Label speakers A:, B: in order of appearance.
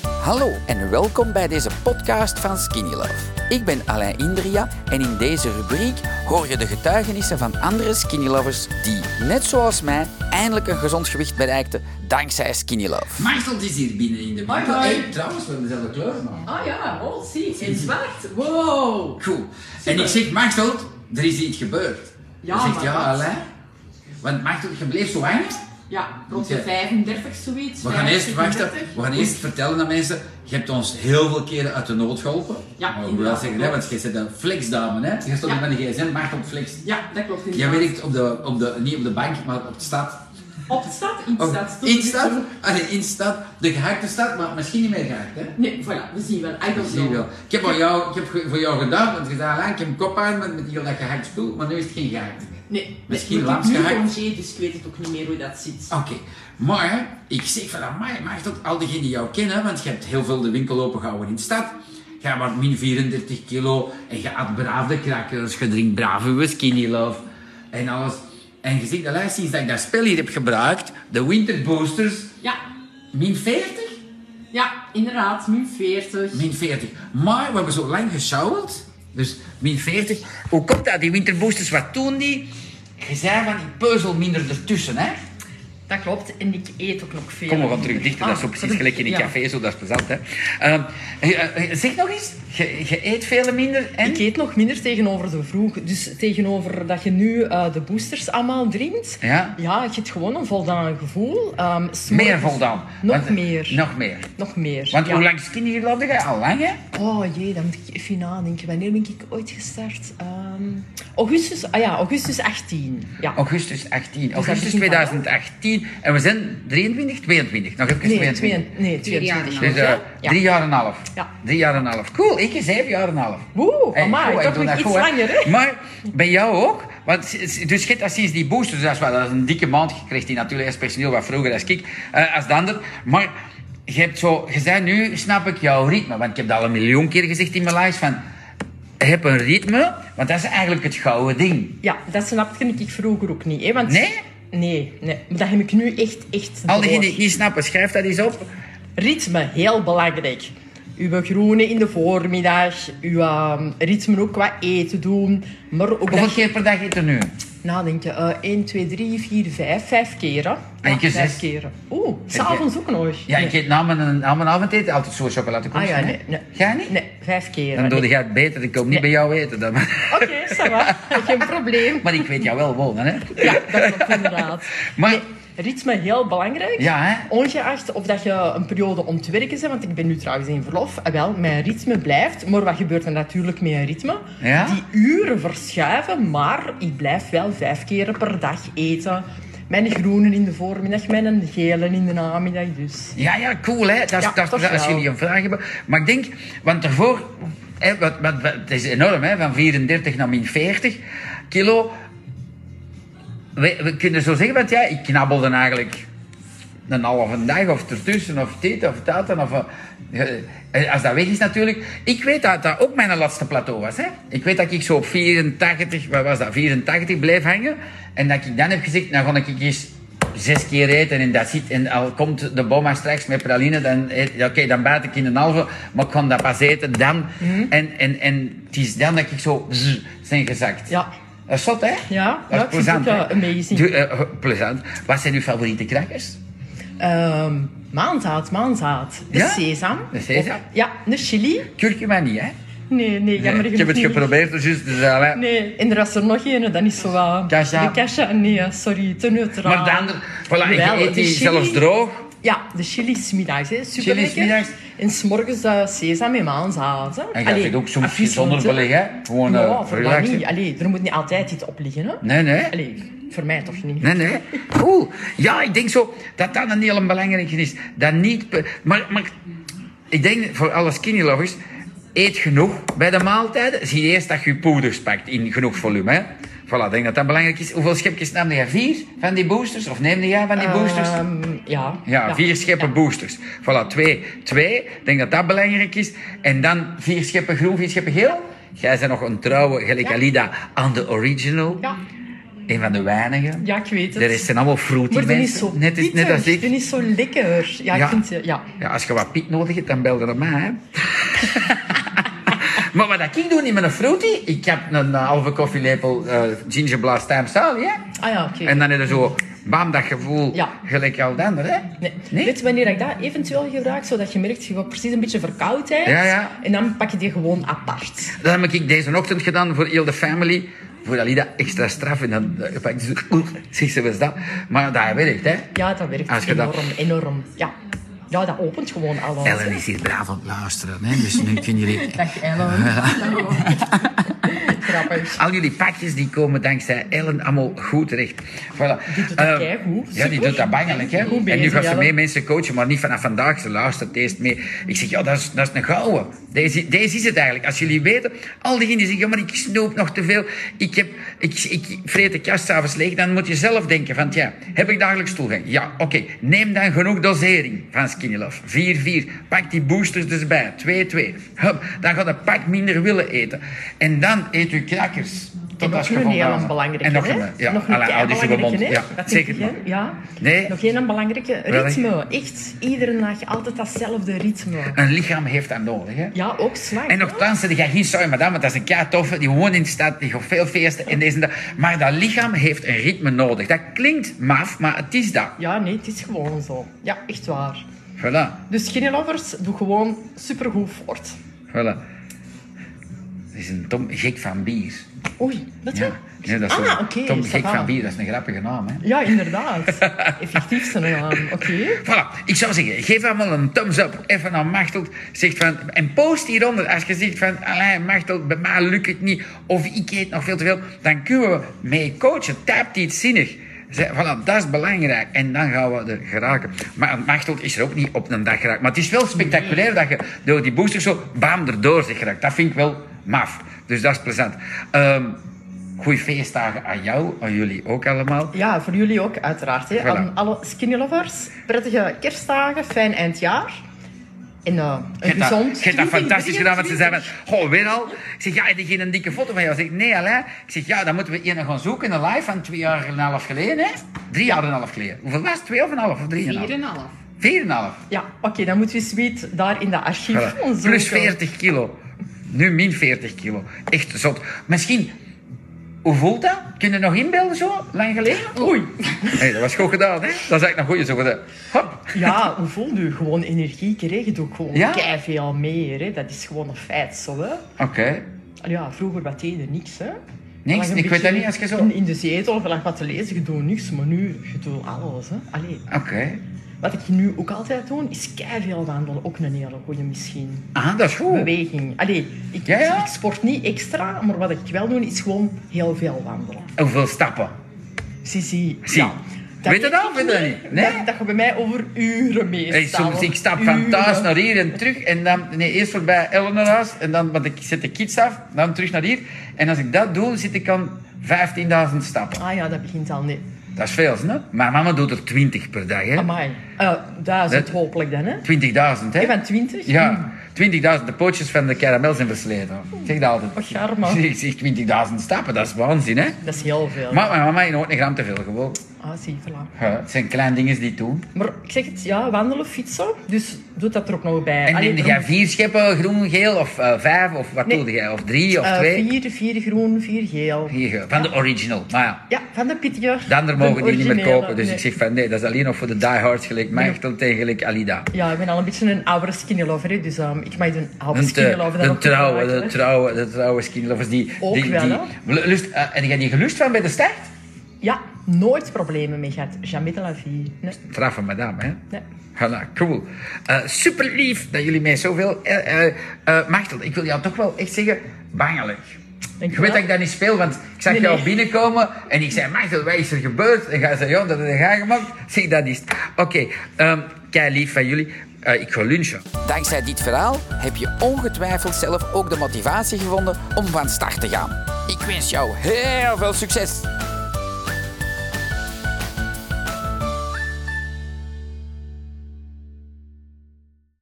A: Hallo en welkom bij deze podcast van Skinny Love. Ik ben Alain Indria en in deze rubriek hoor je de getuigenissen van andere Skinny Lovers die, net zoals mij, eindelijk een gezond gewicht bereikten dankzij Skinny Love.
B: Marcel is hier binnen in de winkel.
C: hoi.
B: Hey, trouwens, we hebben dezelfde kleur, man.
C: Ah ja, oh, zie, in zwart. Wow.
B: Goed. En ik zeg, Marcel, er is iets gebeurd.
C: Ja,
B: Hij zegt,
C: maar
B: ja,
C: wat?
B: Alain. Want Marcel, je bleef zo hangen.
C: Ja, rond de
B: Ja.
C: 35 zoiets.
B: We gaan eerst,
C: 35,
B: wachten,
C: 30.
B: we gaan eerst vertellen aan mensen, je hebt ons heel veel keren uit de nood geholpen. Maar
C: Ja,
B: ik wil wel
C: inderdaad.
B: zeggen, hè, want je bent een flexdame, hè. Je stond
C: Ja.
B: met een gsm, Marcel flex.
C: Ja, dat klopt.
B: Jij
C: inderdaad.
B: werkt op de, op de, niet op de bank, maar op de stad.
C: Op de stad, in de
B: Op-
C: stad.
B: Oh, in de stad? Ah, nee, in de stad. De gehakte stad, maar misschien niet meer gehakt, hè.
C: Nee, voilà, we zien wel. I don't
B: Zie je
C: know.
B: wel. Ik heb, voor jou, ik heb ge- voor jou gedaan, want je zei "Alain, ik heb een kop aan met, met heel dat gehakt spul, maar nu is het geen gehakt meer.
C: Nee, dus
B: Misschien
C: ik heb
B: laps
C: nu
B: gehakt.
C: congé, dus ik weet het ook niet meer hoe dat zit.
B: Oké, maar ik zeg van amai, mag dat al diegenen die jou kennen, want je hebt heel veel de winkel opengehouden in de stad. Jij wordt min 34 kilo en je had braaf de crackers, je drinkt brave whisky, niet love, en alles. En je ziet de lijst sinds dat ik dat spel hier heb gebruikt, de Winter Boosters,
C: Ja,
B: min 40?
C: ja, inderdaad, min 40.
B: Min 40. Maar we hebben zo lang gesjouweld. Dus min 40. Hoe komt dat? Die winterboosters, wat doen die? Je zei van, ik puzzel minder ertussen, hè?
C: Dat klopt, en ik eet ook nog veel.
B: Kom, we gaan terug dichter. Dat is zo
C: Ah,
B: precies
C: sorry.
B: gelijk in een
C: Ja.
B: café, zo, dat is plezant, hè? Ehm, eh, eh, zeg nog eens, je, je eet veel minder en...
D: Ik eet nog minder tegenover de vroeg. Dus tegenover dat je nu eh, de boosters allemaal drinkt.
B: Ja.
D: Ja, je hebt gewoon een voldaan gevoel. Ehm, 's
B: Meer
D: morgens-
B: voldaan.
D: Nog
B: Want- eh,
D: meer.
B: Nog meer.
D: Nog meer.
B: Want
D: ja.
B: hoe lang skinny hier lopen jij? Al lang, hè?
D: Oh jee, dan moet ik even nadenken. Wanneer ben ik ooit gestart? Ehm, augustus, ah ja, augustus 18. Ja.
B: Augustus 18. Augustus
D: begin van
B: 2018. En we zijn 23, 22. Nog even
D: Nee, 22, nee,
C: jaar
D: 22
C: en
B: Dus eh,
D: nog, Nou, ja. Ja.
B: drie jaar en een half.
D: Ja.
B: Drie jaar en een half. Cool, ik is zeven jaar en een half.
D: Woe,
B: Hey,
D: amai,
B: goed, ik
D: toch
B: doe
D: nog
B: dat
D: iets
B: goed, hè.
D: langer, hè?
B: Maar bij jou ook? Want, s- s- dus je hebt dat sinds die boosters, dat is, wel, dat is een dikke maand. Je krijgt die natuurlijk als personeel wat vroeger als ik, eh, als de ander. Maar je hebt zo, je zei nu, snap ik jouw ritme. Want ik heb dat al een miljoen keer gezegd in mijn lives van, heb een ritme, want dat is eigenlijk het gouden ding.
D: Ja, dat snapte ik vroeger ook niet. Hè, want
B: Nee?
D: Nee, nee. Maar dat heb ik nu echt, echt
B: Al diegenen
D: door.
B: die het niet snappen, schrijf dat eens op.
D: Ritme, heel belangrijk. Uw groene in de voormiddag, uw ehm, ritme ook qua eten doen. Maar ook
B: Hoeveel
D: dat je
B: keer per dag eet er nu?
D: nadenken. eh 1, 2, 3, 4, 5, 5 keren.
B: En
D: Ja,
B: keer
D: vijf
B: zes.
D: keren. Oeh, s'avond's ook nog.
B: Ja, ik eet na mijn, na mijn avondeten altijd zo'n chocoladekoekje.
D: Ah ja,
B: hè?
D: nee. nee.
B: Ga je niet?
D: Nee, vijf keren.
B: Dan doe
D: Nee.
B: je het beter, ik kom niet bij jou eten. Dan.
D: Oké, ça va. Geen probleem.
B: Maar ik weet jou wel wonen, hè?
D: Ja, dat klopt inderdaad.
B: Maar-
D: Nee, ritme heel belangrijk.
B: Ja, hè?
D: Ongeacht of dat je een periode om te werken bent, want ik ben nu trouwens in verlof. Ah, Wel, mijn ritme blijft. Maar wat gebeurt er natuurlijk met een ritme?
B: Ja?
D: Die uren verschuiven, maar ik blijf wel vijf keren per dag eten. Mijn groenen in de voormiddag, mijn gelen in de namiddag. Dus
B: Ja, ja, cool, hè? Dat is,
D: Ja,
B: dat is-
D: toch
B: als
D: wel.
B: jullie een vraag hebben. Maar ik denk, want daarvoor, hè, wat, wat, wat- het is enorm, hè? Van 34 naar min 40 kilo. We, we kunnen zo zeggen, want ja, ik knabbelde eigenlijk een halve dag of ertussen of dit of dat. en Of, eh, eh, als dat weg is natuurlijk. Ik weet dat dat ook mijn laatste plateau was. Hè? Ik weet dat ik zo op 84, wat was dat, 84 bleef hangen. En dat ik dan heb gezegd, nou ga ik eens zes keer eten en dat zit. En al komt de boma straks met praline, dan, eet- ja, oké, dan bijt ik in een halve. Maar ik kan dat pas eten dan.
D: Mhm.
B: En, en, en het is dan dat ik zo zzz, zijn gezakt.
D: Ja.
B: Dat is zot, hè?
D: ja,
B: dat
D: ja,
B: is
D: ik vind
B: plezant.
D: het ook,
B: hè?
D: ja, amazing.
B: Doe, eh, plezant. Wat zijn uw favoriete crackers?
D: ehm maandzaad, maandzaad. De
B: Ja?
D: sesam.
B: De sesam?
D: Ja, de chili.
B: Kurkuma niet, hè?
D: Nee, nee, jammer
B: ik heb het
D: genoeg niet.
B: geprobeerd, dus juist, dus, eh, wij-
D: Nee, en er was er nog een, dan is zo wat...
B: Kasha.
D: De kasha, nee, sorry, te neutraal.
B: Maar de andere, voilà, ik
D: Ah. Wel,
B: eet
D: de
B: die
D: chili-
B: zelfs droog.
D: Ja, de chili smiddags, hè. Super
B: Chili smiddags.
D: En s'morgens eh sesam en ah, maanzaad, hè.
B: En je vindt ook soms iets zonder beleg,
D: beleggen.
B: hè? Gewoon eh,
D: ja, voor mij
B: relaxen.
D: niet. Allee, er moet niet altijd iets op liggen, hè.
B: Nee, nee.
D: Allee, voor mij toch niet.
B: Nee, nee. Cool. Ja, ik denk zo dat dat een heel belangrijke is. Dat niet... pe- Maar, maar ik denk voor alle skinny lovers... Eet genoeg bij de maaltijden. Zie eerst dat je je poeders pakt in genoeg volume. Hè? Voilà, ik denk dat dat belangrijk is. Hoeveel schepjes nam jij? Vier van die boosters? Of neemde jij van die boosters?
D: Ehm, ja.
B: Ja, vier scheppen boosters. Voilà, twee. Twee, ik denk dat dat belangrijk is. En dan vier scheppen groen, vier scheppen geel. Jij bent nog een trouwe, gelijk Alida, aan de original.
D: Ja.
B: Een van de weinigen.
D: Ja, ik weet het.
B: De rest zijn allemaal fruity
D: maar die is
B: mensen.
D: zo
B: net, is- net als
D: pittig.
B: ik.
D: Die is zo lekker. Ja,
B: Ja.
D: ik vind ze... Ja.
B: Ja, als je wat piet nodig hebt, dan bel je naar mij. Hè? maar wat ik doe niet met een fruity, ik heb een eh, halve koffielepel eh ginger blast time sal, ja?
D: Ah ja, oké.
B: En dan heb je zo, bam, dat gevoel,
D: Ja.
B: gelijk al dan, hè?
D: Nee.
B: Nee?
D: Weet je wanneer ik dat eventueel gebruik? Zodat je merkt, je wordt precies een beetje verkoudheid.
B: Ja, ja.
D: En dan pak je die gewoon apart.
B: Dat heb ik deze ochtend gedaan voor heel de family. Voor Alida extra straf. En dan eh, pak ik zo, oeh, zeg ze was dat. Maar dat werkt, hè?
D: Ja, dat werkt
B: Als je dat-
D: enorm, enorm. Ja. ja, dat opent gewoon alles.
B: Ellen is hier braaf aan het luisteren, hè? Dus nu kunnen jullie...
D: Dag Ellen. Grappig.
B: Al jullie pakjes die komen dankzij Ellen allemaal goed terecht. Voilà.
D: Die doet dat
B: Eh,
D: keigoed.
B: Ja, die
D: Super.
B: doet dat bangelijk. Hè?
D: Goed
B: En nu
D: bezig,
B: gaat ze
D: Ellen.
B: mee mensen coachen, maar niet vanaf vandaag. Ze luistert eerst mee. Ik zeg, ja, dat is, dat is een gouden. Deze, deze is het eigenlijk. Als jullie weten, al diegenen die zeggen, ja, maar ik snoep nog te veel. Ik, heb, ik, ik vreet de kast s'avonds leeg. Dan moet je zelf denken van, ja, heb ik dagelijks toegang? Ja, oké. Neem dan genoeg dosering van Skinny Love. 4-4. Pak die boosters dus bij. 2-2. Hup, Dan gaat een pak minder willen eten. en dan eet u crackers.
D: En
B: Totdat
D: nog
B: je
D: een
B: voldaan
D: heel
B: bent.
D: belangrijke.
B: En nog
D: hè?
B: een, ja.
D: nog
B: alle ouders hebben
D: keibelangrijke,
B: mond.
D: hè?
B: Ja,
D: Wat
B: zeker.
D: denk je? Ja.
B: Nee.
D: Nog één belangrijke.
B: Welk?
D: Ritme. Echt. Iedere dag altijd datzelfde ritme.
B: Een lichaam heeft dat nodig, hè?
D: Ja, ook slag.
B: En nogthans, die gaat geen sorry madame, want dat is een kei toffe, die woont in de stad, die gaat veel feesten en deze en dat. Maar dat lichaam heeft een ritme nodig. Dat klinkt maf, maar het is dat.
D: Ja, nee, het is gewoon zo. Ja, echt waar.
B: Voilà,
D: Dus Skinny Lovers, doe gewoon supergoed voort.
B: voilà. Het is een Tom gek van bier.
D: Oei, wat
B: Ja, nee, dat is
D: Ah,
B: zo-
D: oké,
B: Tom
D: ça
B: gek
D: va.
B: van bier, dat is een grappige naam, hè?
D: Ja, inderdaad. Effectief zijn naam. Oké.
B: Voilà, ik zou zeggen, geef allemaal een thumbs up. Even aan Machteld. Zegt van, en post hieronder als je zegt van, Alain, Machteld, bij mij lukt het niet. Of ik eet nog veel te veel. Dan kunnen we mee coachen. Tapt iets zinnig. Zeg, Voilà, dat is belangrijk. En dan gaan we er geraken. Maar Machteld is er ook niet op een dag geraakt. Maar het is wel spectaculair dat je door die booster zo bam erdoor zegt geraakt. Dat vind ik wel maf. Dus dat is plezant. Ehm goeie feestdagen aan jou, aan jullie ook allemaal.
D: Ja, voor jullie ook uiteraard. Hè.
B: Voilà.
D: Aan alle skinny lovers, prettige kerstdagen, fijn eindjaar. En eh,
B: Je
D: een
B: hebt dat,
D: gezond...
B: je hebt dat fantastisch gedaan, want ze zeiden,
D: 2023.
B: van, oh, weer al? Ik zeg, ja, heb je geen dikke foto van jou? Ik zeg, nee, Alain. Ik zeg, ja, dan moeten we een gaan zoeken, een live van twee jaar en een half geleden, hè? Drie jaar en een half geleden. Hoeveel was het? Twee of een half? Of drie en een half?
C: 4,5.
B: Vier en een half.
D: Ja, oké, dan moeten we Sweet daar in de archief
B: Voilà.
D: gaan zoeken.
B: Plus 40 kilo. Nu min 40 kilo. Echt zot. Misschien, hoe voelt dat? Kun je nog inbeelden zo, lang geleden?
D: Oei.
B: Nee, dat was goed gedaan, hè? Dat is eigenlijk nog goed. Zo gedaan. Hop.
D: Ja, hoe voel je? Gewoon energie krijgen, doe gewoon
B: Ja?
D: ja? veel meer. Hè. Dat is gewoon een feit, zo. Hè.
B: Oké.
D: Ja, vroeger wat deed je niks, hè?
B: Niks?
D: Je lag een
B: Ik weet
D: beetje
B: dat niet, als je zo-
D: In, in de zetel of je lag wat te lezen, je doet niks, maar nu, je doet alles, hè? Allee,
B: Oké.
D: wat ik nu ook altijd doe, is keiveel wandelen. Ook een hele goede misschien.
B: Ah, dat is goed.
D: Beweging. Allee, ik,
B: Ja, ja.
D: ik sport niet extra, maar wat ik wel doe, is gewoon heel veel wandelen.
B: Hoeveel stappen?
D: Zie, zie.
B: Zie. Weet je dat of weet je dat niet? Nee?
D: Dat, dat gaat bij mij over uren mee.
B: Hey, soms, ik stap van thuis naar hier en terug. En dan, nee, eerst voorbij Eleanor huis. En dan, want ik zet de kids af. Dan terug naar hier. En als ik dat doe, zit ik aan 15.000 stappen.
D: Ah ja, dat begint al niet.
B: Dat is veel, hè? Maar mama doet er 20 per dag, hè?
D: Amai. Eh duizend
B: Dat-
D: hopelijk dan, hè?
B: 20.000, hè?
D: Hey, van twintig? Hmm.
B: Ja, 20.000. De pootjes van de karamel zijn versleten. Ik zeg dat altijd.
D: Och, Jarmo.
B: Ik zeg 20.000 stappen, dat is waanzin, hè?
D: Dat is heel veel.
B: Maar mijn mama heeft nooit een gram te veel gewoon.
D: Ah, zie, voilà.
B: Ja, het zijn kleine dingen die doen.
D: Maar ik zeg het, ja, wandelen, fietsen. Dus doe dat er ook nog bij.
B: En
D: Allee, eh,
B: neem jij
D: daarom-
B: vier scheppen, groen, geel of eh, vijf? Of wat
D: Nee.
B: doe jij? Of drie of
D: eh,
B: twee?
D: vier, vier groen, vier geel.
B: Hier, van de original. Maar ja,
D: Ja, van de pittige.
B: de anderen
D: De
B: mogen die niet meer
D: originele,
B: kopen. Dus
D: nee.
B: ik zeg van nee, dat is alleen nog voor de diehards gelijk Mechtel tegen gelijk Alida.
D: Ja, ik ben al een beetje een oude skinny lover, hè, dus ehm, ik maak een oude
B: Een,
D: skinny
B: te,
D: lover. dan
B: een
D: ook weer
B: trouwe,
D: maken,
B: eh, de
D: hè.
B: trouwe, de trouwe skinlovers die...
D: Ook
B: die,
D: wel,
B: die lust, eh, en jij die gelust van bij de start?
D: Ja, nooit problemen mee gehad. Jamais de la vie. Nee,
B: Traffen madame, hè?
D: nee.
B: Voilà, cool. Eh super lief dat jullie mij zoveel... eh eh eh, Mechtel, ik wil jou toch wel echt zeggen, bangelijk.
D: Dank
B: Ik
D: je
B: weet
D: wel.
B: dat ik dat niet speel, want ik zag
D: Nee,
B: jou
D: nee.
B: binnenkomen en ik zei, Machtel, wat is er gebeurd? En jij zei, ja, dat heb je gemaakt. Zie, dat is het. Oké, Ehm kei lief van jullie. Eh, ik ga lunchen.
A: Dankzij dit verhaal heb je ongetwijfeld zelf ook de motivatie gevonden om van start te gaan. Ik wens jou heel veel succes!